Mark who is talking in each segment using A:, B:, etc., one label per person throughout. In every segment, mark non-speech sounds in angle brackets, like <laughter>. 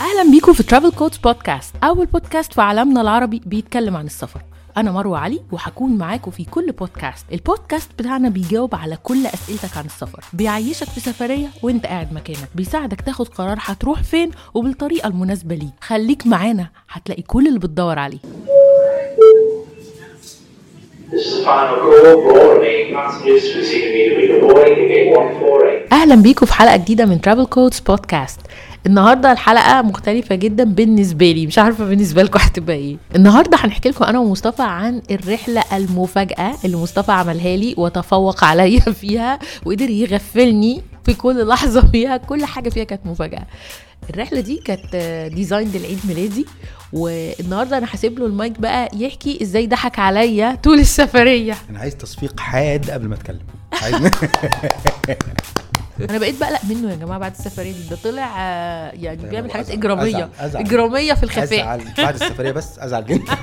A: اهلا بيكم في ترافل كودز بودكاست اول بودكاست في عالمنا العربي بيتكلم عن السفر انا مروه علي وهكون معاكم في كل بودكاست البودكاست بتاعنا بيجاوب على كل اسئلتك عن السفر بيعيشك في سفريه وانت قاعد مكانك بيساعدك تاخد قرار هتروح فين وبالطريقه المناسبه ليك خليك معانا هتلاقي كل اللي بتدور عليه
B: This is final call for all remaining passengers to receive immediately boarding in gate 148.
A: اهلا بيكم في حلقه جديده من ترافل كودز بودكاست النهارده الحلقه مختلفه جدا بالنسبه لي مش عارفه بالنسبه لكم هتبقى ايه النهارده هنحكي لكم انا ومصطفى عن الرحله المفاجاه اللي مصطفى عملها لي وتفوق عليا <laughs> فيها وقدر يغفلني في كل لحظه فيها كل حاجه فيها كانت مفاجاه الرحله دي كانت آه، ديزاين لعيد ميلادي والنهارده انا هسيب له المايك بقى يحكي ازاي ضحك عليا طول السفريه
C: انا عايز تصفيق حاد قبل ما اتكلم
A: <laughs>
C: عايز
A: انا بقيت بقلق منه يا جماعه بعد السفريه دي ده طلع آه، يعني
C: طيب،
A: بيعمل حاجات
C: أزعل،
A: اجراميه
C: أزعل، أزعل.
A: اجراميه في الخفاء
C: ازعل بعد السفريه بس ازعل جدا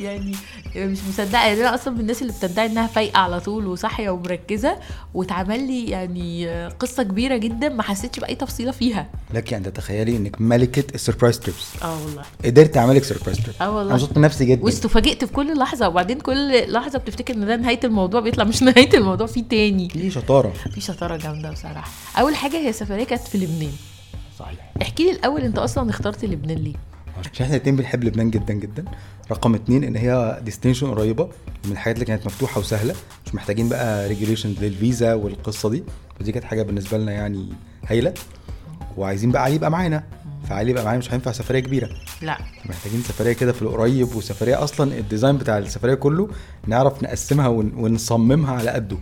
A: يعني مش مصدقه يعني انا اصلا من الناس اللي بتدعي انها فايقه على طول وصاحيه ومركزه واتعمل لي يعني آه، قصه كبيره جدا ما حسيتش باي تفصيله فيها
C: لك ان تتخيلي انك ملكه السربرايز تريبس
A: اه والله
C: قدرت اعملك سربرايز تريب
A: آه والله.
C: انا مبسوط من نفسي جدا
A: واستفاجئت في كل لحظه وبعدين كل لحظه بتفتكر ان ده نهايه الموضوع بيطلع مش <laughs> نهايه الموضوع في تاني
C: في شطاره
A: في شطاره جامده بصراحه اول حاجه هي سفريه كانت في لبنان
C: صحيح
A: احكي لي الاول انت اصلا اخترت لبنان ليه
C: عشان احنا الاتنين بنحب لبنان جدا جدا رقم اتنين ان هي ديستنيشن قريبه من الحاجات اللي كانت مفتوحه وسهله مش محتاجين بقى ريجوليشنز للفيزا والقصه دي فدي كانت حاجه بالنسبه لنا يعني هايله وعايزين بقى علي يبقى معانا فعلي يبقى معانا مش هينفع سفريه كبيره
A: لا
C: محتاجين سفريه كده في القريب وسفريه اصلا الديزاين بتاع السفريه كله نعرف نقسمها ون... ونصممها على قده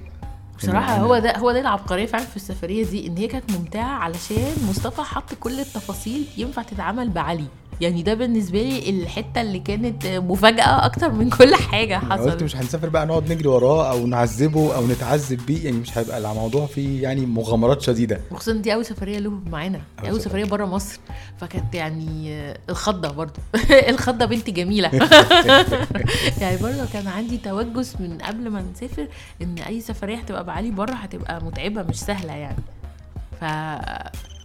A: بصراحة
C: يعني
A: هو ده هو ده العبقرية فعلا في السفرية دي ان هي كانت ممتعة علشان مصطفى حط كل التفاصيل ينفع تتعمل بعلي يعني ده بالنسبة لي الحتة اللي كانت مفاجأة أكتر من كل حاجة
C: أنا قلت
A: حصلت
C: مش هنسافر بقى نقعد نجري وراه او نعذبه او نتعذب بيه يعني مش هيبقى الموضوع فيه يعني مغامرات شديده
A: وخصوصا دي أول سفرية له معانا
C: أول
A: أول سفرية
C: سفرية.
A: بره مصر فكانت يعني آه، الخضة برضو <laughs> الخضة بنت
C: <laughs>
A: جميلة يعني برضو كان عندي توجس من قبل ما نسافر إن أي سفرية هتبقى بعلي بره هتبقى متعبة مش سهلة يعني ف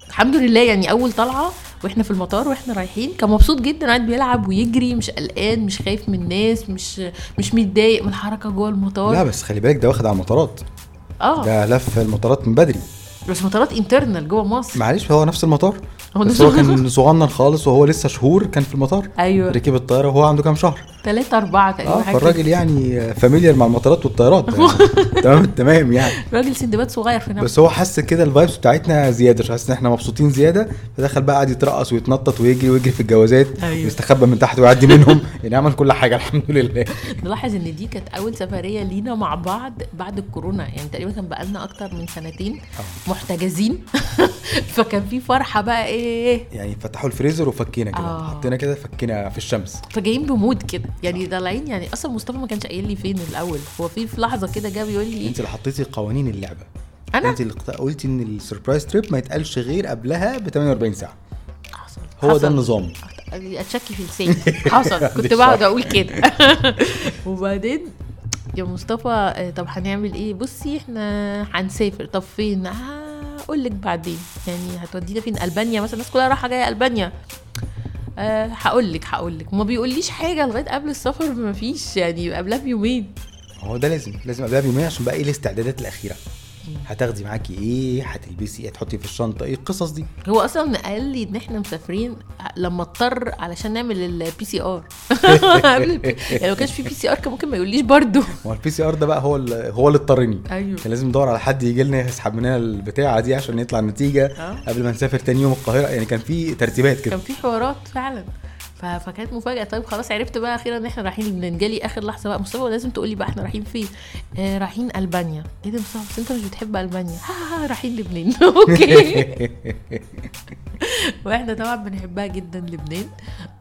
A: الحمد لله يعني اول طلعه واحنا في المطار واحنا رايحين كان مبسوط جدا قاعد بيلعب ويجري مش قلقان مش خايف من الناس مش مش متضايق من الحركه جوه
C: لا
A: المطار
C: بس خلي بالك ده واخد على المطارات
A: اه
C: ده لف المطارات من بدري
A: بس مطارات انترنال جوه مصر
C: معلش هو نفس المطار
A: هو نفس
C: بس هو
A: المطار.
C: كان صغنن خالص وهو لسه شهور كان في المطار
A: أيوة.
C: ركب الطياره وهو عنده كام شهر
A: ثلاثة أربعة تقريبا
C: اه
A: أيوه، حاجة كده.
C: فالراجل يعني فاميليار مع
A: <laughs>
C: المطارات والطيارات يعني. تمام التمام يعني
A: راجل سندباد صغير في نفسه
C: بس هو حس كده الفايبس بتاعتنا زياده مش حاسس ان احنا مبسوطين زياده فدخل بقى قعد يترقص ويتنطط ويجري ويجري في الجوازات
A: أيوة.
C: ويستخبى من تحت ويعدي منهم <laughs> يعني عمل كل حاجه الحمد لله
A: نلاحظ ان دي كانت اول سفريه لينا مع بعض بعد الكورونا يعني تقريبا كان بقالنا اكتر من سنتين
C: اه.
A: محتجزين <laughs> فكان في فرحه بقى ايه
C: يعني فتحوا الفريزر وفكينا كده
A: آه.
C: حطينا كده فكينا في الشمس
A: فجايين بمود كده يعني طالعين يعني اصلا مصطفى ما كانش قايل لي فين الاول هو في في لحظه كده جه بيقول لي إيه؟
C: انت اللي حطيتي قوانين اللعبه
A: أنا؟
C: انت اللي قط- قلتي ان السربرايز تريب ما يتقالش غير قبلها ب 48 ساعه
A: حصل
C: هو ده
A: حصل.
C: النظام
A: اتشكي في لساني حصل كنت
C: دي
A: بقعد
C: صح.
A: اقول كده <laughs> وبعدين يا مصطفى آه، طب هنعمل ايه بصي احنا هنسافر طب فين هقول لك بعدين يعني هتودينا فين البانيا مثلا الناس كلها رايحه جايه البانيا أه هقول لك هقول لك ما بيقوليش حاجه لغايه قبل السفر <laughs> ما فيش يعني قبلها بيومين
C: هو ده لازم لازم قبلها بيومين عشان بقى ايه الاستعدادات الاخيره هتاخدي معاكي ايه هتلبسي ايه هتحطي في الشنطه ايه القصص دي
A: هو اصلا قال لي ان احنا مسافرين آه، لما اضطر علشان نعمل البي سي ار <laughs> قبل البي... يعني لو كانش في بي سي ار كان ممكن ما يقوليش برضو
C: ما هو البي سي ار ده بقى هو اللي هو اللي اضطرني
A: ايوه
C: كان لازم ندور على حد يجي لنا يسحب مننا البتاعه دي عشان يطلع النتيجه
A: اه
C: قبل ما نسافر تاني يوم القاهره يعني كان في ترتيبات
A: كان
C: كده
A: في حوارات فعلا ف- فكانت مفاجاه طيب خلاص عرفت بقى اخيرا ان احنا رايحين لبنان جالي اخر لحظه بقى مصطفى لازم تقول لي بقى احنا رايحين فين آه رايحين البانيا ايه ده يا مصطفى بس انت مش بتحب البانيا <laughs> ها ها ها، رايحين لبنان <laughs>
C: <laughs>
A: اوكي واحنا طبعا بنحبها جدا لبنان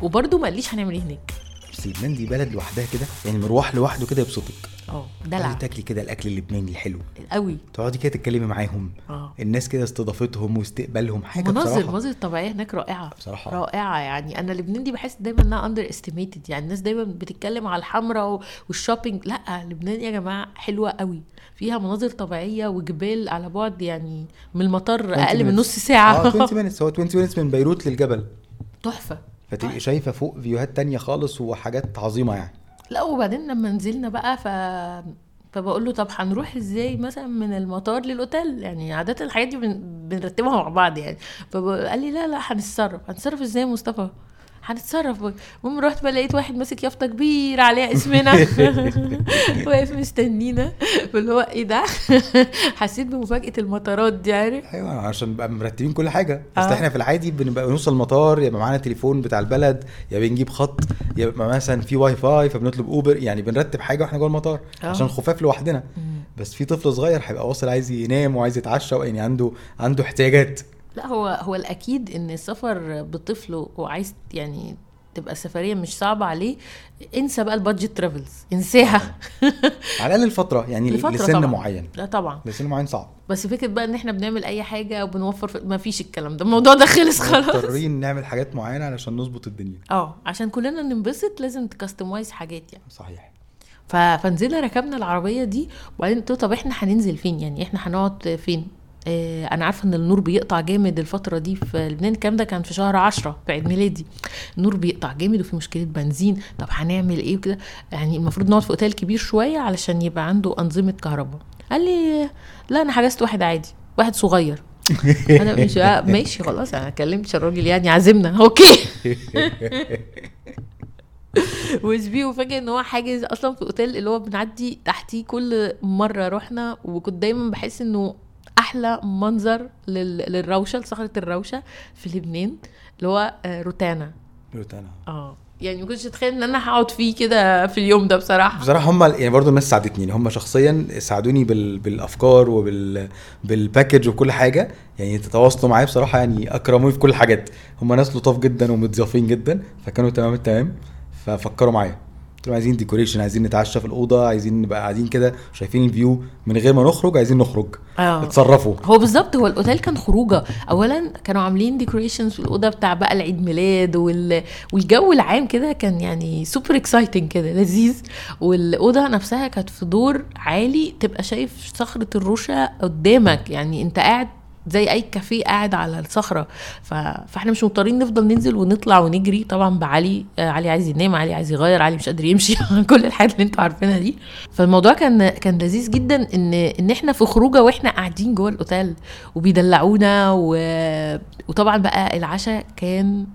A: وبرده ما قاليش هنعمل ايه هناك
C: بس لبنان دي بلد لوحدها كده يعني مروح لوحده كده يبسطك
A: اه
C: تقعدي
A: دلع
C: تاكلي كده الاكل اللبناني الحلو
A: قوي
C: تقعدي كده تتكلمي معاهم
A: اه
C: الناس كده استضافتهم واستقبالهم حاجه
A: مناظر
C: بصراحه
A: المناظر الطبيعيه هناك رائعه
C: بصراحة.
A: رائعه يعني انا لبنان دي بحس دايما انها اندر استيميتد يعني الناس دايما بتتكلم على الحمراء والشوبينج لا لبنان يا جماعه حلوه قوي فيها مناظر طبيعيه وجبال على بعد يعني من المطار
C: 20
A: اقل من
C: minutes.
A: نص ساعه <laughs>
C: اه 20 مينتس هو 20 مينتس من بيروت للجبل
A: تحفه اه.
C: فتبقي شايفه فوق فيوهات تانية خالص وحاجات عظيمه يعني
A: لا وبعدين لما نزلنا بقى ف فبقول له طب هنروح ازاي مثلا من المطار للاوتيل يعني عاده الحاجات دي بن... بنرتبها مع بعض يعني فقال لي لا لا هنتصرف هنتصرف ازاي يا مصطفى هنتصرف بقى. المهم رحت بقى لقيت واحد ماسك يافطه كبيره عليها اسمنا واقف مستنينا فاللي هو ايه ده <laughs> حسيت بمفاجاه المطارات دي عارف
C: ايوه عشان بقى مرتبين كل حاجه بس
A: آه.
C: احنا في العادي بنبقى نوصل المطار يبقى معانا تليفون بتاع البلد يا بنجيب خط يا بيبقى مثلا في واي فاي فبنطلب اوبر يعني بنرتب حاجه واحنا جوه المطار
A: آه.
C: عشان خفاف لوحدنا بس في طفل صغير هيبقى واصل عايز ينام وعايز يتعشى يعني عنده عنده احتياجات
A: لا هو هو الاكيد ان السفر بطفل وعايز يعني تبقى السفريه مش صعبه عليه انسى بقى البادجت ترافلز انساها <laughs>
C: على الاقل الفتره يعني
A: لفترة
C: لسن
A: طبعاً.
C: معين
A: لا طبعا
C: لسن معين صعب
A: بس فكره بقى ان احنا بنعمل اي حاجه وبنوفر في... ما فيش الكلام ده الموضوع ده خلص <laughs> خلاص
C: مضطرين نعمل حاجات معينه علشان نظبط الدنيا
A: اه عشان كلنا ننبسط لازم تكستمايز حاجات يعني
C: صحيح
A: ف... فنزلنا ركبنا العربيه دي وبعدين قلت له طب احنا هننزل فين يعني احنا هنقعد فين آه، انا عارفه ان النور بيقطع جامد الفتره دي في لبنان الكلام ده كان في شهر عشرة في عيد ميلادي النور بيقطع جامد وفي مشكله بنزين طب هنعمل ايه وكده يعني المفروض نقعد في اوتيل كبير شويه علشان يبقى عنده انظمه كهرباء قال لي لا انا حجزت واحد عادي واحد صغير
C: <laughs>
A: انا مش آه، ماشي خلاص انا كلمت الراجل يعني عازمنا <laughs> اوكي وسبي وفاكر ان هو حاجز اصلا في اوتيل اللي هو بنعدي تحتيه كل مره رحنا وكنت دايما بحس انه احلى منظر لل... للروشه لصخره الروشه في لبنان اللي هو آه، روتانا
C: قلت انا
A: اه يعني ما كنتش اتخيل ان انا هقعد فيه كده في اليوم ده بصراحه
C: بصراحه هم يعني برضو الناس ساعدتني يعني هم شخصيا ساعدوني بال... بالافكار وبال بالباكج وكل حاجه يعني تتواصلوا معايا بصراحه يعني اكرموني في كل الحاجات هم ناس لطاف جدا ومتضيافين جدا فكانوا تمام التمام ففكروا معايا قلت لهم عايزين ديكوريشن عايزين نتعشى في الاوضه عايزين نبقى قاعدين كده شايفين الفيو من غير ما نخرج عايزين نخرج
A: اه
C: اتصرفوا
A: هو بالظبط هو الاوتيل كان خروجه اولا كانوا عاملين ديكوريشنز في الاوضه بتاع بقى العيد ميلاد وال... والجو العام كده كان يعني سوبر اكسايتنج كده لذيذ والاوضه نفسها كانت في دور عالي تبقى شايف صخره الرشا قدامك يعني انت قاعد زي اي كافيه قاعد على الصخره ف... فاحنا مش مضطرين نفضل ننزل ونطلع ونجري طبعا بعلي آه، علي عايز ينام علي عايز يغير علي مش قادر يمشي <laughs> كل الحاجات اللي انتوا عارفينها دي فالموضوع كان كان لذيذ جدا ان ان احنا في خروجه واحنا قاعدين جوه الاوتيل وبيدلعونا و... وطبعا بقى العشاء كان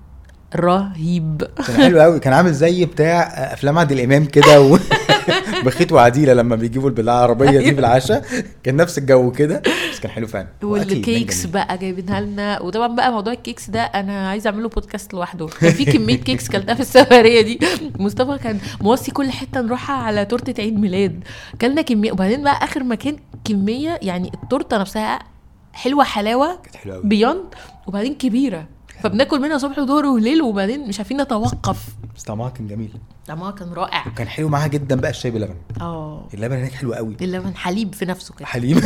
A: رهيب
C: كان حلو قوي كان عامل زي بتاع افلام عادل امام
A: <laughs>
C: كده و... بخيت وعديله لما بيجيبوا بالعربيه دي
A: أيوة.
C: بالعشاء كان نفس الجو كده بس كان حلو فعلا وأكل لبنان
A: والكيكس
C: جميل.
A: بقى جايبينها لنا وطبعا بقى موضوع الكيكس ده انا عايزه اعمل له بودكاست لوحده كان في كميه كيكس كلتها في السفريه دي مصطفى كان موصي كل حته نروحها على تورته عيد ميلاد كلنا كميه وبعدين بقى اخر مكان كميه يعني التورته نفسها حلوه حلاوه
C: كانت حلوه قوي
A: بياند وبعدين كبيره فبناكل منها صبح وظهر وليل وبعدين مش عارفين نتوقف
C: بس طعمها كان جميل
A: طعمها كان رائع
C: وكان حلو معاها جدا بقى الشاي بلبن
A: اه
C: اللبن هناك حلو قوي
A: اللبن حليب في نفسه كده <laughs>
C: حليب <laughs>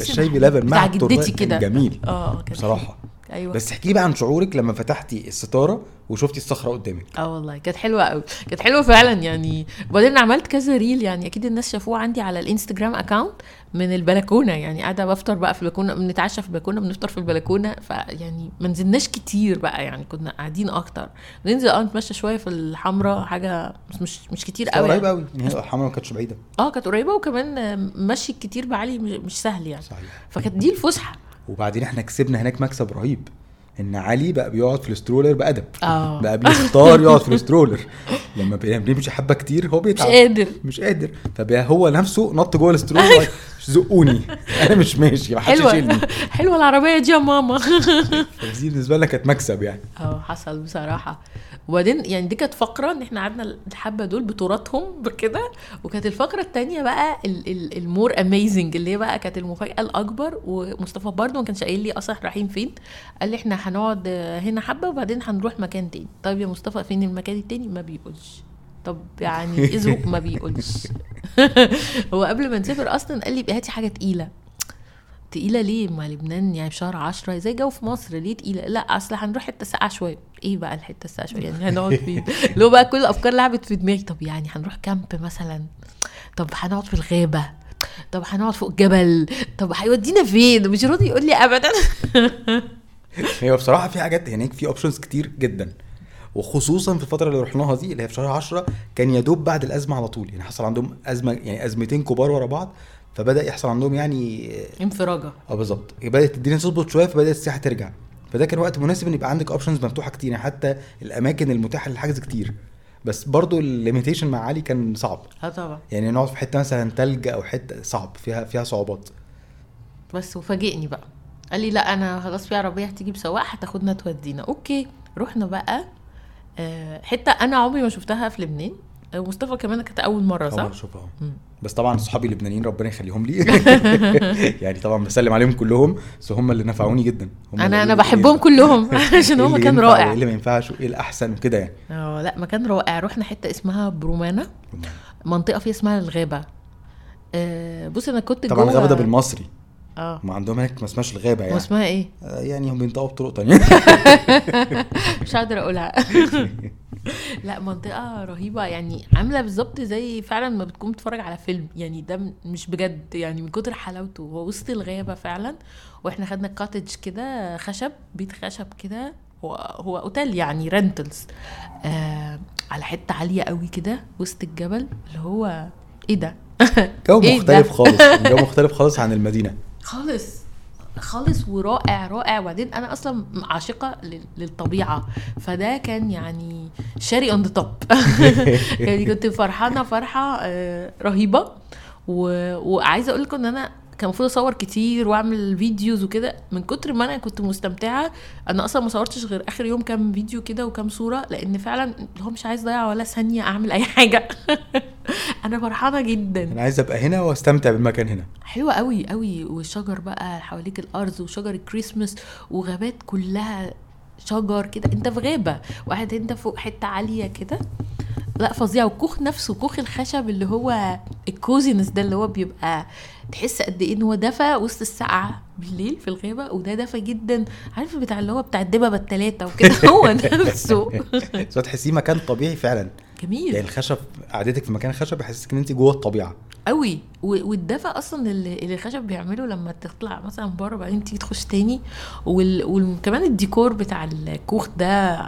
C: الشاي بلبن
A: بتاع
C: مع التورتيه
A: جدتي
C: كان
A: كده
C: جميل
A: اه كان
C: بصراحه
A: حلو. ايوه
C: بس احكي لي بقى عن شعورك لما فتحتي الستاره وشفتي الصخره قدامك
A: اه والله كانت حلوه قوي كانت حلوه فعلا يعني وبعدين عملت كذا ريل يعني اكيد الناس شافوه عندي على الانستجرام اكاونت من البلكونه يعني قاعده بفطر بقى في البلكونه بنتعشى في البلكونه بنفطر في البلكونه فيعني ما نزلناش كتير بقى يعني كنا قاعدين اكتر ننزل اه نتمشى شويه في الحمراء حاجه مش مش, مش كتير قوي
C: قريبه
A: يعني.
C: قوي يعني هي الحمرا ما كانتش بعيده
A: اه كانت قريبه وكمان آه، مشي كتير بعلي مش- مش سهل يعني
C: صحيح
A: فكانت دي الفسحه
C: وبعدين احنا كسبنا هناك مكسب رهيب ان علي بقى بيقعد في السترولر بادب
A: اه
C: بقى بيختار يقعد في السترولر لما بي- بنمشي حبه كتير هو
A: مش
C: بيتعب
A: قادر أيوه.
C: مش قادر فبقى هو نفسه نط جوه السترولر زقوني انا مش ماشي ما حدش
A: حلوه
C: يشيلني
A: حلوه العربيه دي يا ماما <laughs>
C: فدي بالنسبه لنا كانت مكسب يعني
A: اه حصل بصراحه وبعدين يعني دي كانت فقره ان احنا قعدنا الحبه دول بتراثهم بكده وكانت الفقره التانية بقى ال- ال- المور اميزنج اللي هي بقى كانت المفاجاه الاكبر ومصطفى برضه ما كانش قايل لي اصلا إحنا رايحين فين قال لي احنا هنقعد آه، هنا حبه وبعدين هنروح مكان تاني طيب يا مصطفى فين المكان التاني ما بيقولش طب يعني اذوق ما بيقولش <laughs> هو قبل ما نسافر اصلا قال لي "يبقى هاتي حاجه تقيله تقيله ليه ما لبنان يعني في شهر عشرة زي جو في مصر ليه تقيله لا اصل هنروح حته ساقعه شويه ايه بقى الحته الساقعه شويه يعني هنقعد فين لو بقى كل الافكار لعبت في دماغي طب يعني هنروح كامب مثلا طب هنقعد في الغابه طب هنقعد فوق الجبل طب هيودينا فين مش راضي يقول لي <laughs> ابدا
C: هي بصراحه في حاجات هناك في اوبشنز كتير جدا وخصوصا في الفتره اللي رحناها دي اللي هي في شهر 10 كان يا دوب بعد الازمه على طول يعني حصل عندهم ازمه يعني ازمتين كبار ورا بعض فبدا يحصل عندهم يعني
A: انفراجه
C: اه بالظبط بدات الدنيا تظبط شويه فبدات السياحه ترجع فده كان وقت مناسب ان يبقى عندك اوبشنز مفتوحه كتير يعني حتى الاماكن المتاحه للحجز كتير بس برضو الليميتيشن مع علي كان صعب
A: اه طبعا
C: يعني نقعد في حته مثلا تلج او حته صعب فيها فيها صعوبات
A: بس وفاجئني بقى قال لي لا انا خلاص في عربيه هتيجي بسواق هتاخدنا تودينا اوكي رحنا بقى آه، حته انا عمري ما شفتها في لبنان آه، مصطفى كمان كانت اول مره
C: اول
A: صح؟
C: مره اشوفها أهو.
A: مم.
C: بس طبعا صحابي اللبنانيين ربنا
A: <laughs>
C: يخليهم لي يعني طبعا بسلم عليهم كلهم بس هم اللي نفعوني جدا هم
A: انا
C: اللي
A: انا
C: قالوا لي إيه
A: بحبهم
C: اللي-
A: كلهم <laughs> عشان
C: <laughs> إيه
A: هم
C: اللي
A: كان
C: ينفع وايه
A: رائع
C: اللي ما ينفعش وايه الاحسن وكده يعني
A: اه لا مكان رائع رحنا حته اسمها برومانا منطقه فيها اسمها الغابه آه، بص انا كنت
C: طبعا
A: جوه-
C: الغابه ده آه. بالمصري
A: اه
C: ما عندهم هناك ما اسمهاش الغابه يعني
A: واسمها ايه؟
C: آه، يعني هم بينطقوا بطرق تانية <laughs>
A: مش قادره اقولها لا منطقه رهيبه يعني عامله بالظبط زي فعلا ما بتكون بتتفرج على فيلم يعني ده م- مش بجد يعني من كتر حلاوته هو وسط الغابه فعلا واحنا خدنا كاتج كده خشب بيت خشب كده هو هو اوتيل يعني رنتلز آه على حته عاليه قوي كده وسط الجبل اللي هو ايه ده
C: جو
A: <laughs> إيه ده؟
C: مختلف خالص جو مختلف خالص عن المدينه
A: خالص خالص ورائع رائع وبعدين انا اصلا عاشقه لل- للطبيعه فده كان يعني شاري اون ذا توب يعني كنت فرحانه فرحه آه، رهيبه و- وعايزه اقول لكم ان انا كان المفروض اصور كتير واعمل فيديوز وكده من كتر ما انا كنت مستمتعه انا اصلا ما صورتش غير اخر يوم كام فيديو كده وكام صوره لان فعلا اللي هو مش عايز اضيع ولا ثانيه اعمل اي <laughs> حاجه انا فرحانه جدا
C: انا عايز ابقى هنا واستمتع
A: <laughs>
C: بالمكان هنا
A: حلوة قوي قوي والشجر بقى حواليك الأرز وشجر الكريسماس وغابات كلها شجر كده انت في غابة وقاعد انت فوق حتة عالية كده لا فظيع والكوخ نفسه كوخ الخشب اللي هو الكوزينس ده اللي هو بيبقى تحس قد ايه ان هو دفى وسط الساعة بالليل في الغابة وده دفى جدا عارف بتاع اللي هو بتاع الدببة التلاتة وكده <laughs> هو نفسه
C: بس تحسيه مكان طبيعي فعلا يعني
A: جميل
C: الخشب قعدتك في مكان خشب يحسسك ان انت جوه الطبيعه
A: قوي و- والدفى اصلا اللي اللي الخشب بيعمله لما تطلع مثلا بره بعدين تيجي تخش تاني وال- وكمان الديكور بتاع الكوخ ده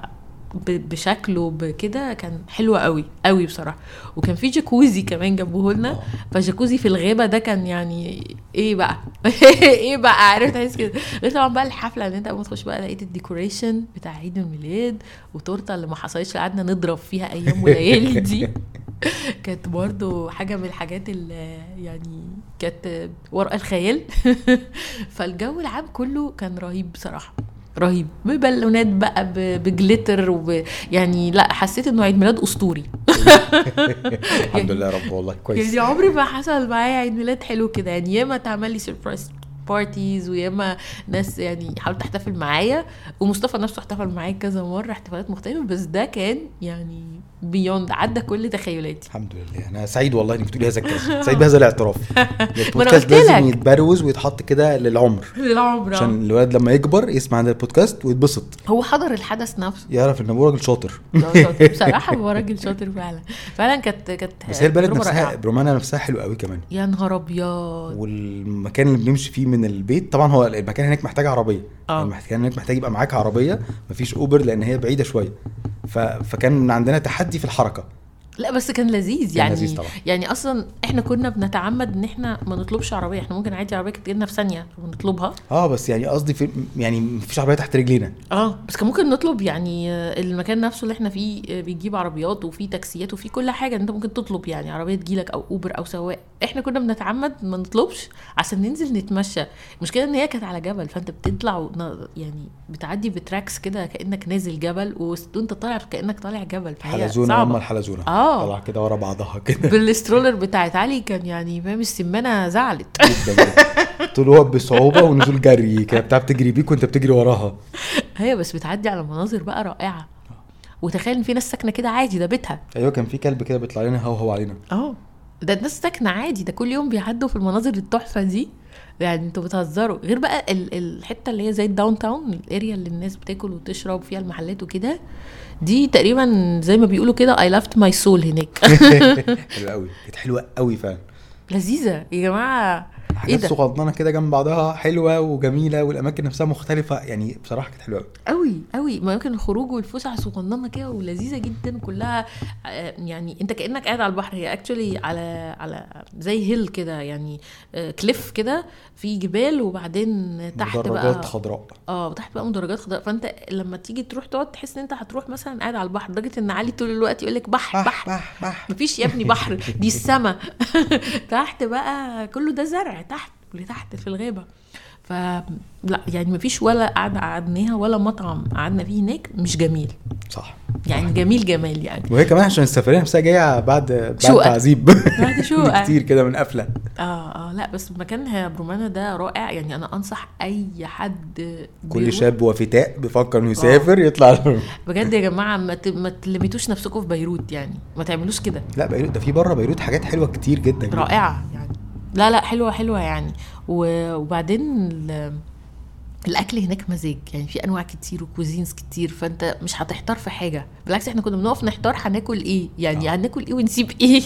A: ب- بشكله بكده كان حلو قوي قوي بصراحه وكان في جاكوزي كمان جنبه لنا فجاكوزي في الغابه ده كان يعني ايه بقى <laughs> ايه بقى عرفت تحس كده غير طبعا بقى الحفله اللي انت اول ما تخش بقى لقيت الديكوريشن بتاع عيد الميلاد وتورته اللي ما حصلتش قعدنا نضرب فيها ايام وليالي دي <laughs> كانت برضو حاجة من الحاجات اللي يعني كانت وراء الخيال <laughs> فالجو العام كله كان رهيب بصراحة رهيب ببالونات بقى ب- بجليتر وب... يعني لا حسيت انه عيد ميلاد اسطوري
C: الحمد لله يا
A: <laughs>
C: رب والله كويس
A: يعني عمري ما حصل معايا عيد ميلاد حلو كده يعني ياما اتعمل لي سربرايز بارتيز وياما ناس يعني حاولت تحتفل معايا ومصطفى نفسه احتفل معايا كذا مره احتفالات مختلفه بس ده كان يعني بيوند عدى كل تخيلاتي
C: الحمد لله انا سعيد والله انك بتقولي هذا الكلام سعيد
A: <laughs>
C: بهذا الاعتراف يعني البودكاست
A: قلت
C: لازم
A: لك.
C: يتبروز ويتحط كده للعمر
A: للعمر
C: عشان الولد لما يكبر يسمع هذا البودكاست ويتبسط
A: هو حضر الحدث
C: <laughs>
A: نفسه
C: يعرف ان ابوه راجل
A: <laughs>
C: شاطر
A: لو شاطر. بصراحه هو راجل شاطر فعلا فعلا كانت كانت
C: بس هي البلد
A: تجربة
C: نفسها
A: رائعة.
C: برومانا نفسها حلو قوي كمان
A: يا نهار ابيض
C: والمكان اللي بنمشي فيه من البيت طبعا هو المكان هناك محتاج عربيه
A: آه.
C: المكان هناك محتاج يبقى معاك عربيه مفيش اوبر لان هي بعيده شويه ف... فكان عندنا تحدي في الحركه
A: لا بس كان لذيذ
C: كان
A: يعني
C: لذيذ طبعا.
A: يعني اصلا احنا كنا بنتعمد ان احنا ما نطلبش عربيه احنا ممكن عادي عربيه كانت تجيلنا في ثانيه ونطلبها
C: اه بس يعني قصدي في يعني مفيش عربيه تحت رجلينا
A: اه بس كان ممكن نطلب يعني آه، المكان نفسه اللي احنا فيه آه، بيجيب عربيات وفيه تاكسيات وفيه كل حاجه انت ممكن تطلب يعني عربيه تجيلك او اوبر او سواق احنا كنا بنتعمد ما نطلبش عشان ننزل نتمشى المشكله ان هي كانت على جبل فانت بتطلع ون- يعني بتعدي بتراكس كده كانك نازل جبل وس- وانت طالع كانك طالع جبل فهي
C: حلزونه هم
A: صعبه
C: <laughs> الحلزونه
A: آه.
C: طلع كده ورا بعضها كده <laughs>
A: بالاسترولر بتاعت علي كان يعني فاهم السمانه زعلت
C: جدا كده. طلوع بصعوبه ونزول جري كده بتاع بتجري بيك وانت بتجري وراها
A: هي بس بتعدي على مناظر بقى رائعه وتخيل ان في ناس ساكنه كده عادي ده بيتها
C: ايوه كان في كلب كده بيطلع لنا هو هو علينا <laughs>
A: اه ده الناس ساكنه عادي ده كل يوم بيعدوا في المناظر التحفه دي يعني انتوا بتهزروا غير بقى ال- الحته اللي هي زي الداون تاون الاريا اللي الناس بتاكل وتشرب فيها المحلات وكده دي تقريبا زي ما بيقولوا كده اي لافت ماي سول هناك <laughs>
C: حلوه قوي كانت حلوه قوي فعلا
A: لذيذه يا جماعه ايه
C: حاجات
A: ده
C: صغننه كده جنب بعضها حلوه وجميله والاماكن نفسها مختلفه يعني بصراحه كانت حلوه قوي
A: قوي قوي ممكن الخروج والفسح صغننه كده ولذيذه جدا كلها آه، يعني انت كانك قاعد على البحر هي اكشولي على على زي هيل كده يعني كليف كده في جبال وبعدين تحت
C: مدرجات
A: بقى
C: خضراء
A: اه تحت بقى مدرجات خضراء فانت لما تيجي تروح تقعد تحس ان انت هتروح مثلا قاعد على البحر لدرجه ان علي طول الوقت يقول لك بحر
C: بح
A: بحر
C: بح بح
A: مفيش يا ابني بحر دي السما <laughs> تحت بقى كله ده زرع تحت لتحت في الغابه ف لا يعني مفيش ولا قعده قعدناها ولا مطعم قعدنا فيه هناك مش جميل
C: صح
A: يعني جميل جمال يعني
C: وهي كمان عشان السفريه نفسها جايه بعد بعد
A: شقة.
C: تعذيب
A: بعد
C: <laughs>
A: شقة.
C: كتير كده من قفله
A: اه اه لا بس مكان يا برومانا ده رائع يعني انا انصح اي حد
C: كل
A: بيروح- آه.
C: شاب وفتاء بيفكر انه يسافر يطلع <laughs> له.
A: بجد يا جماعه ما ت- ما تلمتوش نفسكم في بيروت يعني ما تعملوش كده
C: لا بيروت ده في بره بيروت حاجات حلوه كتير جدا جدا.
A: رائعه يعني لا لا حلوه حلوه يعني و- وبعدين ال- الاكل هناك مزاج يعني في انواع كتير وكوزينز كتير فانت مش هتحتار في حاجه بالعكس احنا كنا بنقف نحتار هناكل ايه يعني هناكل ايه ونسيب ايه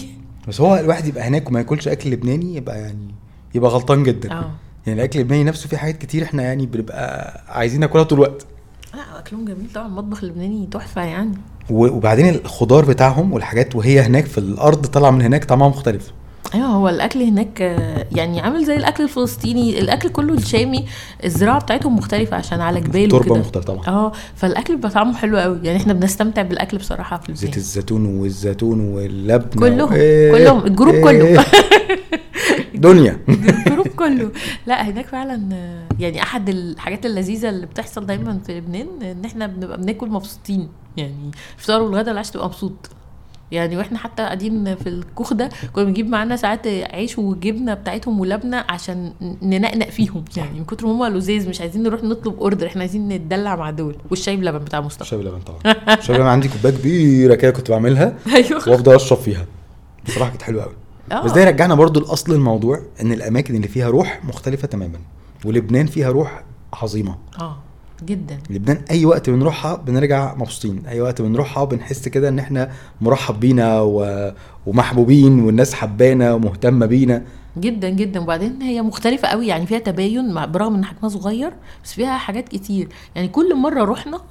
C: بس هو الواحد يبقى هناك وما ياكلش اكل لبناني يبقى يعني يبقى غلطان جدا
A: اه
C: يعني الاكل اللبناني نفسه في حاجات كتير احنا يعني بنبقى عايزين ناكلها طول الوقت
A: لا اكلهم جميل طبعا المطبخ اللبناني تحفه يعني
C: و- وبعدين الخضار بتاعهم والحاجات وهي هناك في الارض طالعه من هناك طعمها مختلف
A: ايوه هو الاكل هناك آه، يعني عامل زي الاكل الفلسطيني الاكل كله الشامي الزراعه بتاعتهم مختلفه عشان على جبال
C: تربه
A: وكده
C: مختلفه طبعا
A: اه فالاكل بيبقى طعمه حلو قوي يعني احنا بنستمتع بالاكل بصراحه في
C: زيت
A: لبنان
C: الزيتون والزيتون واللبن إيه.
A: كلهم- كلهم، الجروب كله.
C: <laughs>
A: <laughs>
C: دنيا
A: الجروب كله لا هناك فعلا آه، يعني احد الحاجات اللذيذه اللي بتحصل دايما في لبنان ان احنا بنبقى بناكل مبسوطين يعني الفطار والغدا والعشاء تبقى مبسوط يعني واحنا حتى قاعدين في الكوخ ده كنا بنجيب معانا ساعات عيش وجبنه بتاعتهم ولبنه عشان ننقنق فيهم يعني من كتر ما هم لذيذ مش عايزين نروح نطلب اوردر احنا عايزين نتدلع مع دول والشاي بلبن بتاع مصطفى
C: شاي بلبن طبعا
A: <laughs>
C: شاي بلبن عندي كوبايه كبيره كده كنت بعملها
A: ايوه
C: وافضل اشرب فيها بصراحه كانت حلوه قوي
A: آه.
C: بس ده يرجعنا برضو لاصل الموضوع ان الاماكن اللي فيها روح مختلفه تماما ولبنان فيها روح عظيمه
A: اه جدا
C: لبنان اي وقت بنروحها بنرجع مبسوطين اي وقت بنروحها بنحس كده ان احنا مرحب بينا و... ومحبوبين والناس حبانا ومهتمه بينا
A: جدا جدا وبعدين هي مختلفة قوي يعني فيها تباين مع- برغم ان حجمها صغير بس فيها حاجات كتير يعني كل مرة رحنا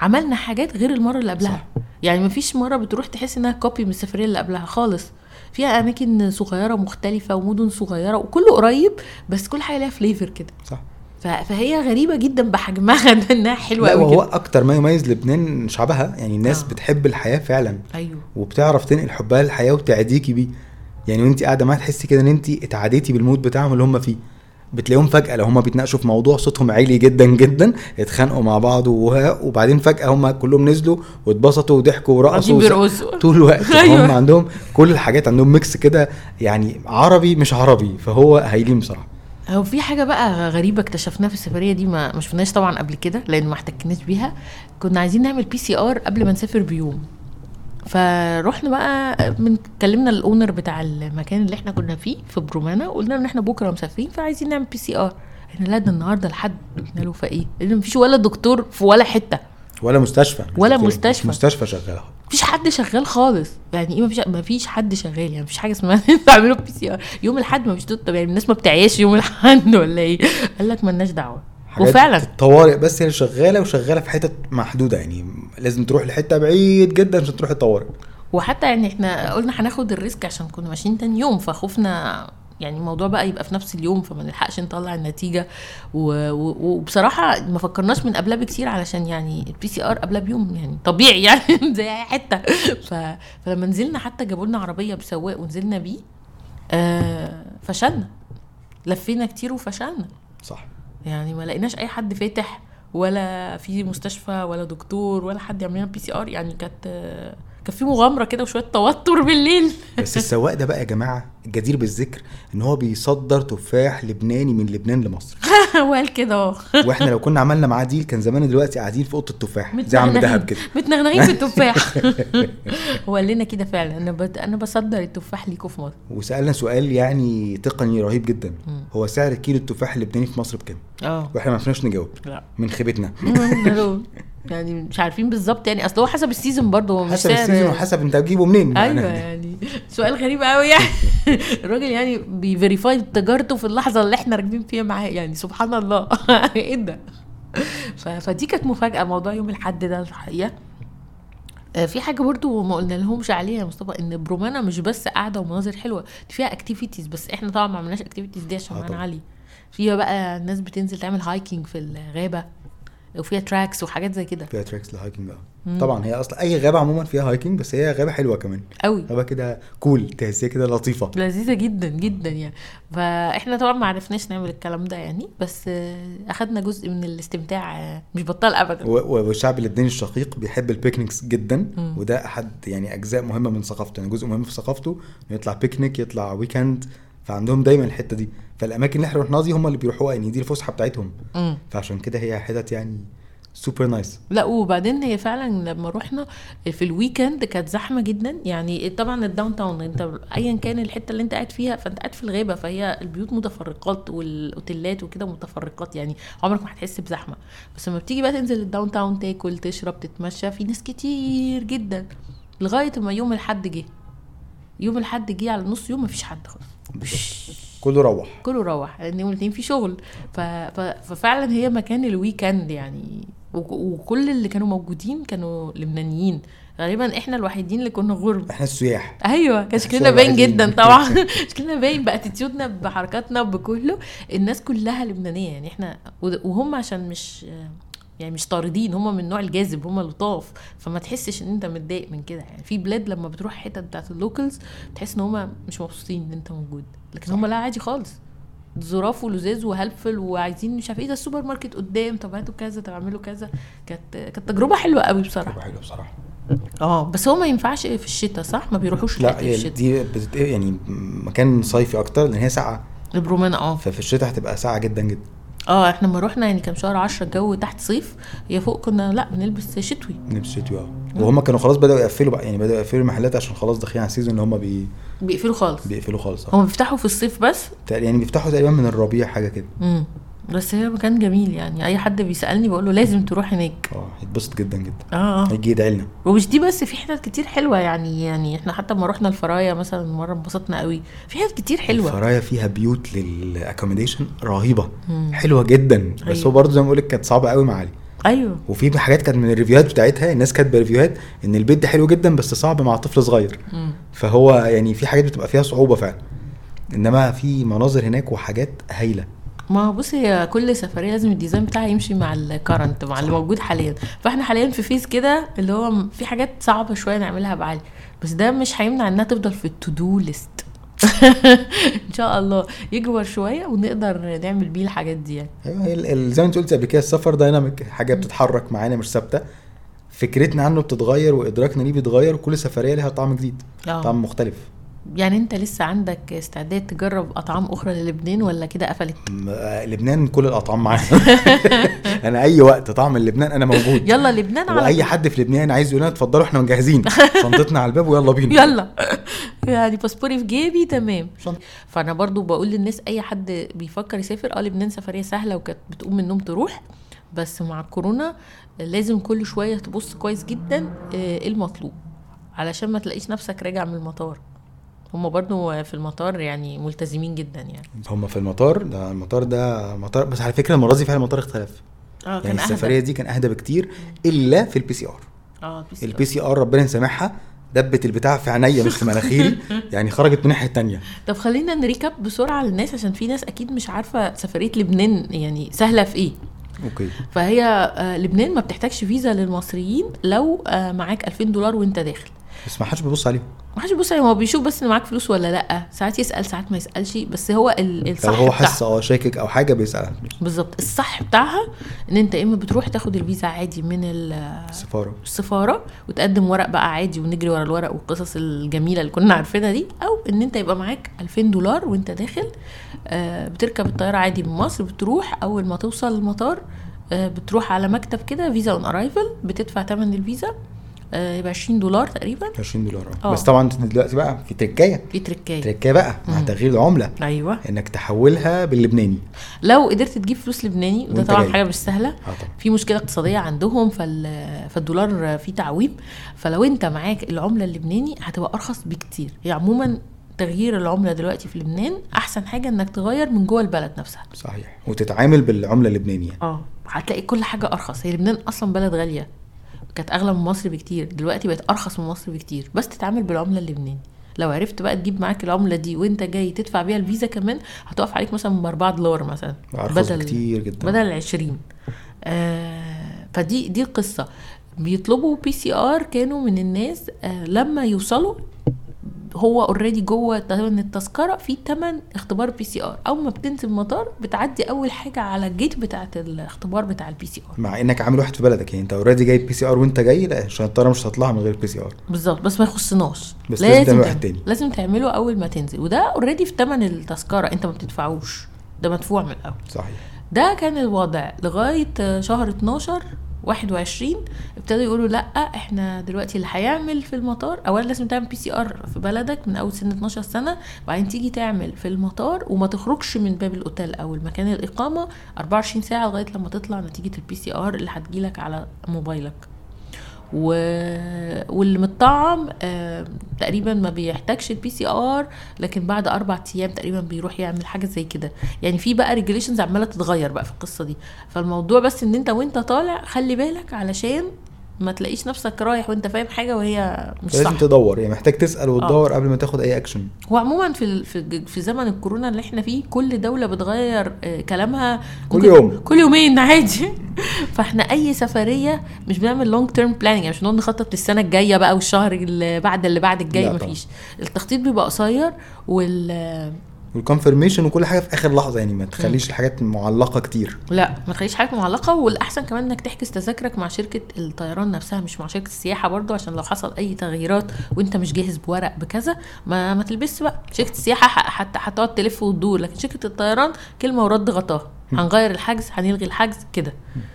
A: عملنا حاجات غير المرة اللي قبلها صح. يعني مفيش مرة بتروح تحس انها كوبي من السفرية اللي قبلها خالص فيها اماكن صغيرة مختلفة ومدن صغيرة وكله قريب بس كل حاجة ليها فليفر كده
C: صح
A: ف- فهي غريبة جدا بحجمها <laughs> ده انها حلوة
C: لا وهو
A: قوي
C: اكتر ما يميز لبنان شعبها يعني الناس
A: آه.
C: بتحب الحياه فعلا
A: ايوه
C: وبتعرف تنقل حبها للحياه وتعديكي بيه يعني وانت قاعده معاها تحسي كده ان انت اتعديتي بالمود بتاعهم اللي هم فيه بتلاقيهم فجاه لو هم بيتناقشوا في موضوع صوتهم عالي جدا جدا اتخانقوا مع بعض وها- وبعدين فجاه هم كلهم نزلوا واتبسطوا وضحكوا
A: قاعدين
C: ورقصوا وس-
A: بيرقصوا <laughs>
C: طول الوقت
A: أيوة.
C: هم عندهم كل الحاجات عندهم ميكس كده يعني عربي مش عربي فهو هيليم بصراحه
A: هو في حاجة بقى غريبة اكتشفناها في السفرية دي ما ما شفناش طبعا قبل كده لأن ما احتكناش بيها كنا عايزين نعمل بي سي ار قبل ما نسافر بيوم فروحنا بقى من كلمنا الاونر بتاع المكان اللي احنا كنا فيه في برومانا قلنا له ان احنا بكره مسافرين فعايزين نعمل بي سي ار احنا لا ده النهارده لحد قلنا له فايه لان مفيش ولا دكتور في ولا حته
C: ولا مستشفى مش
A: ولا
C: دكتور- مش
A: مستشفى.
C: مستشفى شغاله
A: مفيش حد شغال خالص يعني ايه مفيش مفيش حد شغال يعني مفيش حاجه اسمها <laughs> إن انتوا تعملوا بي سي ار يوم الاحد مفيش دكتور طب يعني الناس ما بتعياش يوم الاحد ولا ايه قال لك مالناش دعوه
C: حاجات
A: وفعلا
C: الطوارئ بس هي شغاله وشغاله في حتت محدوده يعني لازم تروح لحته بعيد جدا عشان تروح الطوارئ
A: وحتى يعني احنا قلنا هناخد الريسك عشان كنا ماشيين تاني يوم فخوفنا يعني الموضوع بقى يبقى في نفس اليوم فما نلحقش نطلع النتيجه و- و- وبصراحه ما فكرناش من قبلها بكتير علشان يعني البي سي ار قبلها بيوم يعني طبيعي يعني <laughs> زي اي حته ف- فلما نزلنا حتى جابوا لنا عربيه بسواق ونزلنا بيه آه فشلنا لفينا كتير وفشلنا
C: صح
A: يعني ما لقيناش اي حد فاتح ولا في مستشفى ولا دكتور ولا حد يعمل لنا بي سي ار يعني كانت كان في مغامره كده وشويه توتر بالليل <laughs>
C: بس السواق ده بقى يا جماعه الجدير بالذكر ان هو بيصدر تفاح لبناني من لبنان
A: <laughs>
C: لمصر
A: وقال كده اه
C: واحنا لو كنا عملنا معاه ديل كان زماننا دلوقتي قاعدين في اوضه التفاح زي عم
A: متنغنغين-
C: دهب كده
A: متنغنغين في
C: <laughs>
A: التفاح <laughs> هو قال لنا كده فعلا انا بد... انا بصدر التفاح ليكوا في مصر
C: وسالنا سؤال يعني تقني رهيب جدا
A: مم.
C: هو سعر كيلو التفاح اللبناني في مصر بكام
A: اه
C: واحنا ما عرفناش نجاوب
A: لا <laughs>
C: من خيبتنا
A: يعني مش عارفين بالظبط يعني اصل هو حسب السيزون برضه هو مش
C: حسب
A: سعر-
C: السيزون وحسب انت هتجيبه منين
A: ايوه يعني <laughs> سؤال غريب قوي يعني <laughs> الراجل يعني بيفيريفاي تجارته في اللحظه اللي احنا راكبين فيها معاه يعني سبحان الله <laughs> ايه ده ف- فدي كانت مفاجاه موضوع يوم الاحد ده الحقيقه آه، في حاجه برضو ما قلنا لهمش عليها يا مصطفى ان برومانا مش بس قاعده ومناظر حلوه دي فيها اكتيفيتيز بس احنا طبعا ما عملناش اكتيفيتيز دي عشان
C: آه،
A: معانا
C: طبعاً.
A: علي فيها بقى الناس بتنزل تعمل هايكنج في الغابه وفيها تراكس وحاجات زي كده
C: فيها تراكس للهايكنج بقى طبعا هي اصلا اي غابه عموما فيها هايكنج بس هي غابه حلوه كمان
A: قوي
C: غابه كده كول تحسيها كده لطيفه
A: لذيذه جدا جدا يعني فاحنا طبعا ما عرفناش نعمل الكلام ده يعني بس آه، اخدنا جزء من الاستمتاع آه، مش بطال ابدا
C: و- و- والشعب اللبناني الشقيق بيحب البيكنيكس جدا وده احد يعني اجزاء مهمه من ثقافته يعني جزء مهم في ثقافته انه يطلع بيكنيك يطلع ويكند فعندهم دايما الحته دي فالاماكن اللي احنا رحناها دي هم اللي بيروحوها يعني دي الفسحه بتاعتهم
A: مم.
C: فعشان كده هي حتت يعني سوبر نايس
A: لا وبعدين هي فعلا لما رحنا في الويكند كانت زحمه جدا يعني طبعا الداون تاون انت ايا كان الحته اللي انت قاعد فيها فانت قاعد في الغابه فهي البيوت متفرقات والاوتيلات وكده متفرقات يعني عمرك ما هتحس بزحمه بس لما بتيجي بقى تنزل الداون تاون تاكل تشرب تتمشى في ناس كتير جدا لغايه ما يوم الاحد جه يوم الاحد جه على نص يوم مفيش حد خالص
C: كله روح
A: كله روح لان يوم الاثنين في شغل ف... ف... ففعلا هي مكان الويكند يعني وك- وكل اللي كانوا موجودين كانوا لبنانيين غالبا احنا الوحيدين اللي كنا غرب
C: احنا السياح
A: ايوه كان شكلنا
C: شغل
A: باين
C: عادي.
A: جدا طبعا <laughs> شكلنا باين باتيتيودنا بحركاتنا بكله الناس كلها لبنانيه يعني احنا و- وهم عشان مش يعني مش طاردين هم من النوع الجاذب هم لطاف فما تحسش ان انت متضايق من كده يعني في بلاد لما بتروح حتت بتاعت اللوكلز بتحس ان هم مش مبسوطين ان انت موجود لكن هم لا عادي خالص زراف ولزاز وهلفل وعايزين مش عارف ايه ده السوبر ماركت قدام طب هاتوا كذا طب اعملوا كذا كانت كانت تجربه حلوه قوي بصراحه
C: حلو بصراحه
A: اه بس هو ما ينفعش في الشتاء صح ما بيروحوش
C: آه. لا
A: الحتة
C: هي
A: الشتاء.
C: دي بتت... يعني مكان صيفي اكتر لان هي ساقعه
A: البرومانة اه
C: ففي الشتاء هتبقى ساقعه جدا جدا
A: اه احنا لما رحنا يعني كان شهر 10 الجو تحت صيف يا فوق كنا لا بنلبس شتوي
C: نفس الشتوي اه وهم كانوا خلاص بداوا يقفلوا بقى يعني بداوا يقفلوا المحلات عشان خلاص داخلين على السيزون ان هم بي...
A: بيقفلوا خالص
C: بيقفلوا خالص اه
A: هم بيفتحوا في الصيف بس
C: تق- يعني بيفتحوا تقريبا من الربيع حاجه كده
A: امم بس هي مكان جميل يعني اي حد بيسالني بقول له لازم تروح هناك
C: اه هيتبسط جدا جدا
A: اه اه
C: هيجي يدعي لنا
A: ومش دي بس في حتت كتير حلوه يعني يعني احنا حتى لما رحنا الفرايه مثلا مره انبسطنا قوي في حتت كتير حلوه
C: الفرايه فيها بيوت للاكومديشن رهيبه حلوه جدا بس
A: أيوة.
C: هو برضه زي ما بقول لك كانت صعبه قوي مع علي
A: ايوه
C: وفي حاجات كانت من الريفيوهات بتاعتها الناس كاتبه ريفيوهات ان البيت ده حلو جدا بس صعب مع طفل صغير
A: مم.
C: فهو يعني في حاجات بتبقى فيها صعوبه فعلا انما في مناظر هناك وحاجات هايله
A: ما هو بص هي كل سفريه لازم الديزاين بتاعها يمشي مع الكرنت مع اللي موجود حاليا فاحنا حاليا في فيز كده اللي هو م- في حاجات صعبه شويه نعملها بعلي بس ده مش هيمنع انها تفضل في التو دو <laughs> ليست ان شاء الله يكبر شويه ونقدر نعمل بيه الحاجات دي يعني
C: ايوه هي ال- ال- زي ما انت قلت قبل كده السفر دايناميك حاجه بتتحرك معانا مش ثابته فكرتنا عنه بتتغير وادراكنا ليه بيتغير وكل سفريه ليها طعم جديد
A: آه.
C: طعم مختلف
A: يعني انت لسه عندك استعداد تجرب اطعام اخرى للبنان ولا كده قفلت
C: م- آه، لبنان كل الاطعام <laughs> معانا انا اي وقت طعم لبنان انا موجود
A: يلا لبنان على
C: واي حد في لبنان عايز يقول لنا اتفضلوا احنا
A: <laughs>
C: مجهزين شنطتنا على الباب ويلا بينا
A: يلا <laughs> يعني باسبوري في جيبي تمام
C: شنطة.
A: فانا برضو بقول للناس اي حد بيفكر يسافر اه لبنان سفريه سهله وكانت بتقوم من النوم تروح بس مع الكورونا لازم كل شويه تبص كويس جدا آه، ايه المطلوب علشان ما تلاقيش نفسك راجع من المطار هم برضو في المطار يعني ملتزمين جدا يعني
C: هم في المطار ده المطار ده مطار بس على فكره المره دي فعلا المطار اختلف
A: اه كان
C: يعني السفريه
A: اهدى
C: دي كان اهدى بكتير الا في البي سي ار
A: اه بي سي آر.
C: البي سي ار ربنا يسامحها دبت البتاع في عينيا مش في
A: <laughs>
C: مناخيري يعني خرجت من الناحيه الثانيه
A: طب خلينا نريكاب بسرعه للناس عشان في ناس اكيد مش عارفه سفريه لبنان يعني سهله في ايه
C: اوكي
A: فهي آه، لبنان ما بتحتاجش فيزا للمصريين لو آه، معاك 2000 دولار وانت داخل
C: بس ما حدش بيبص عليهم
A: ما حدش بيبص عليه، هو بيشوف بس ان معاك فلوس ولا لا ساعات يسال ساعات ما يسالش بس هو ال- الصح
C: لو هو
A: بتاعها.
C: حس اه شاكك او حاجه بيسالها
A: بالظبط الصح بتاعها ان انت يا اما بتروح تاخد الفيزا عادي من ال- آه،
C: السفاره
A: السفاره وتقدم ورق بقى عادي ونجري ورا الورق والقصص الجميله اللي كنا عارفينها دي او ان انت يبقى معاك 2000 دولار وانت داخل آه، بتركب الطياره عادي من مصر بتروح اول ما توصل المطار آه، بتروح على مكتب كده فيزا اون ارايفل بتدفع ثمن الفيزا آه، يبقى 20 دولار تقريبا
C: 20 دولار
A: آه.
C: اه بس طبعا دلوقتي بقى في تركايه
A: في تركايه
C: تركايه بقى مع تغيير العمله
A: ايوه
C: انك تحولها باللبناني
A: لو قدرت تجيب فلوس لبناني وده
C: وانت
A: طبعا
C: جاي.
A: حاجه مش سهله
C: اه طبعا
A: في مشكله اقتصاديه عندهم فال... فالدولار فيه تعويم فلو انت معاك العمله اللبناني هتبقى ارخص بكتير هي عموما تغيير العمله دلوقتي في لبنان احسن حاجه انك تغير من جوه البلد نفسها
C: صحيح وتتعامل بالعمله اللبنانيه
A: اه هتلاقي كل حاجه ارخص هي لبنان اصلا بلد غاليه كانت اغلى من مصر بكتير دلوقتي بقت ارخص من مصر بكتير بس تتعامل بالعمله اللبناني لو عرفت بقى تجيب معاك العمله دي وانت جاي تدفع بيها الفيزا كمان هتقف عليك مثلا ب 4 دولار مثلا
C: ارخص كتير جدا
A: بدل 20 آه فدي دي القصه بيطلبوا بي سي ار كانوا من الناس آه لما يوصلوا هو اوريدي جوه تمن التذكره في تمن اختبار بي سي ار اول ما بتنزل المطار بتعدي اول حاجه على الجيت بتاعه الاختبار بتاع البي سي ار
C: مع انك عامل واحد في بلدك يعني انت اوريدي جايب بي سي ار وانت جاي لا عشان الطياره مش هتطلع من غير بي سي ار
A: بالظبط بس ما يخصناش
C: بس لازم تعمل
A: تعمل-
C: واحد تاني.
A: لازم تعمله اول ما تنزل وده اوريدي في تمن التذكره انت ما بتدفعوش ده مدفوع من الاول
C: صحيح
A: ده كان الوضع لغاية شهر 12 21 ابتدوا يقولوا لا احنا دلوقتي اللي هيعمل في المطار اولا لازم تعمل بي سي ار في بلدك من اول سن 12 سنه وبعدين تيجي تعمل في المطار وما تخرجش من باب الاوتيل او المكان الاقامه 24 ساعه لغايه لما تطلع نتيجه البي سي ار اللي هتجيلك على موبايلك و... واللي متطعم آه، تقريبا ما بيحتاجش البي سي ار لكن بعد اربع ايام تقريبا بيروح يعمل حاجه زي كده يعني في بقى ريجوليشنز عماله تتغير بقى في القصه دي فالموضوع بس ان انت وانت طالع خلي بالك علشان ما تلاقيش نفسك رايح وانت فاهم حاجه وهي مش صح آه.
C: لازم تدور يعني محتاج تسال وتدور قبل ما تاخد اي اكشن
A: هو عموما في ال- في في زمن الكورونا اللي احنا فيه كل دوله بتغير آه، كلامها
C: كل
A: ممكن-
C: يوم.
A: كل يومين <laughs> عادي فاحنا اي سفريه مش بنعمل لونج تيرم بلاننج يعني مش بنقعد نخطط للسنه الجايه بقى والشهر اللي بعد اللي بعد الجاي
C: لا طبعا.
A: مفيش التخطيط بيبقى قصير وال
C: والكونفرميشن وكل حاجه في اخر لحظه يعني ما تخليش الحاجات معلقه كتير
A: لا ما تخليش حاجات معلقه والاحسن كمان انك تحجز تذاكرك مع شركه الطيران نفسها مش مع شركه السياحه برضو عشان لو حصل اي تغييرات وانت مش جاهز بورق بكذا ما ما تلبسش بقى شركه السياحه ح- حتى هتقعد تلف وتدور لكن شركه الطيران كلمه ورد غطاها هنغير الحجز هنلغي الحجز كده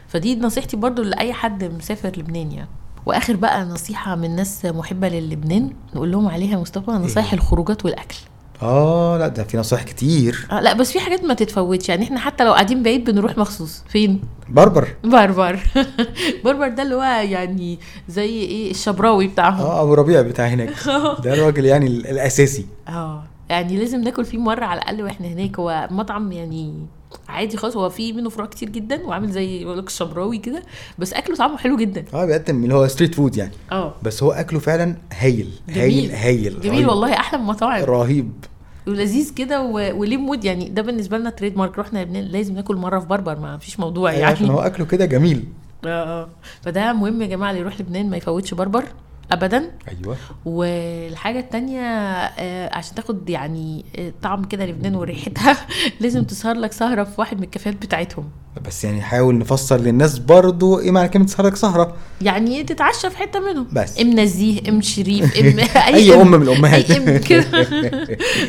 A: فدي نصيحتي برضو لاي حد مسافر لبنان يعني واخر بقى نصيحه من ناس محبه للبنان نقول لهم عليها يا مصطفى نصايح الخروجات والاكل
C: اه لا ده في نصايح كتير
A: آه لا بس في حاجات ما تتفوتش يعني احنا حتى لو قاعدين بعيد بنروح مخصوص فين
C: بربر
A: بربر <laughs> بربر ده اللي هو يعني زي ايه الشبراوي بتاعهم
C: اه ابو ربيع بتاع
A: <laughs>
C: هناك
A: آه.
C: ده الراجل يعني ال- الاساسي
A: اه يعني لازم ناكل فيه مره على الاقل واحنا هناك هو مطعم يعني عادي خالص هو فيه منه فروع كتير جدا وعامل زي بقول لك الشبراوي كده بس اكله طعمه حلو جدا
C: اه بيقدم اللي هو ستريت فود يعني
A: اه
C: بس هو اكله فعلا هايل هايل هايل
A: جميل
C: رهيب.
A: والله احلى من مطاعم
C: رهيب
A: ولذيذ كده و- وليه مود يعني ده بالنسبه لنا تريد مارك رحنا لبنان لازم ناكل مره في بربر ما فيش موضوع
C: يعني عشان
A: يعني
C: هو اكله كده جميل
A: اه اه فده مهم يا جماعه اللي يروح لبنان ما يفوتش بربر ابدا
C: ايوه
A: والحاجة التانية آه، عشان تاخد يعني آه، طعم كده لبنان وريحتها <laughs> لازم تسهر لك سهرة في واحد من الكافيهات بتاعتهم
C: بس يعني حاول نفسر للناس برضو ايه معنى كلمه سهرك سهره
A: يعني تتعشى في حتة منهم
C: بس.
A: ام نزيه ام شريف
C: <laughs>
A: <laughs> ام
C: أي أم من الأمهات.
A: اي ام
C: <laughs>
A: كده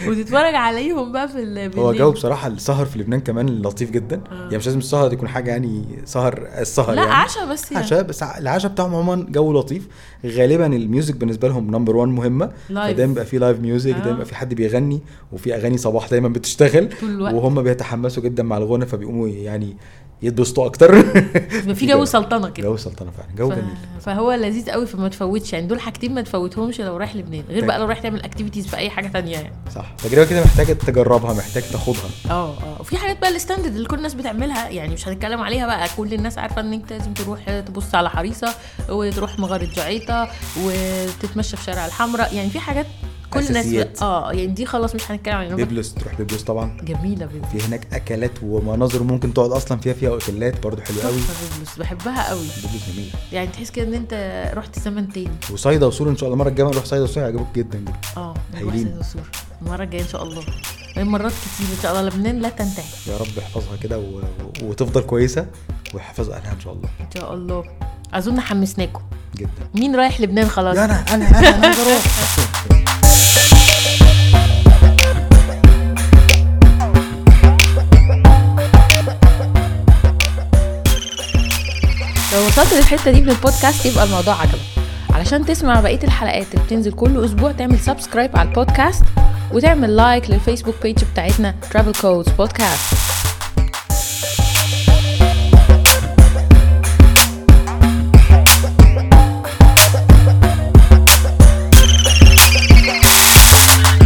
A: وتتفرج عليهم بقى في ال-
C: هو
A: بالليل.
C: جو بصراحه السهر في لبنان كمان لطيف جدا
A: آه.
C: يعني مش لازم السهر دي يكون حاجه يعني سهر السهر
A: لا
C: يعني
A: عشاء بس يعني
C: عشاء بس ع- العشاء بتاعهم عموما جو لطيف غالبا الميوزك بالنسبه لهم نمبر 1 مهمه
A: لايف.
C: فدايما بيبقى في لايف ميوزك دايما
A: آه.
C: بيبقى في حد بيغني وفي اغاني صباح دايما بتشتغل
A: طول الوقت
C: وهم بيتحمسوا جدا مع الغنى فبيقوموا يعني يتبسطوا اكتر <laughs>
A: في جو سلطنه كده
C: جو سلطنه فعلا جو
A: ف-
C: جميل
A: فهو لذيذ قوي فما تفوتش يعني دول حاجتين ما تفوتهمش لو رايح لبنان غير
C: طيب.
A: بقى لو رايح تعمل اكتيفيتيز في اي حاجه تانية يعني
C: صح تجربه كده محتاج تجربها محتاج تاخدها
A: اه اه وفي حاجات بقى الستاندرد اللي كل الناس بتعملها يعني مش هنتكلم عليها بقى كل الناس عارفه ان انت لازم تروح تبص على حريصه وتروح مغاره جعيطه وتتمشى في شارع الحمراء يعني في حاجات كل
C: أساسيات.
A: الناس اه يعني دي خلاص مش هنتكلم عليها
C: بيبلس تروح بيبلس طبعا
A: جميله بيبلوس
C: في هناك اكلات ومناظر ممكن تقعد اصلا فيها فيها اوتيلات برضو حلوه قوي
A: تحفة بيبلوس بحبها قوي
C: بيبلس جميل
A: يعني تحس كده ان انت رحت زمن تاني
C: وصيدا وسور ان شاء الله المره الجايه نروح صيدا وسور هيعجبك جدا جدا
A: اه نروح
C: هايلين.
A: سيد وسور المره الجايه ان شاء الله يعني مرات كتير ان شاء الله لبنان لا تنتهي
C: يا رب احفظها كده و... و- وتفضل كويسه ويحفظ اهلها ان شاء الله
A: ان شاء الله اظن حمسناكم
C: جدا
A: مين رايح لبنان خلاص
C: يا انا انا انا انا عايز اروح
A: لو وصلت للحته دي من البودكاست يبقى الموضوع عجبك علشان تسمع بقيه الحلقات اللي بتنزل كل اسبوع تعمل سبسكرايب على البودكاست وتعمل لايك للفيسبوك بيج بتاعتنا ترافل كودز بودكاست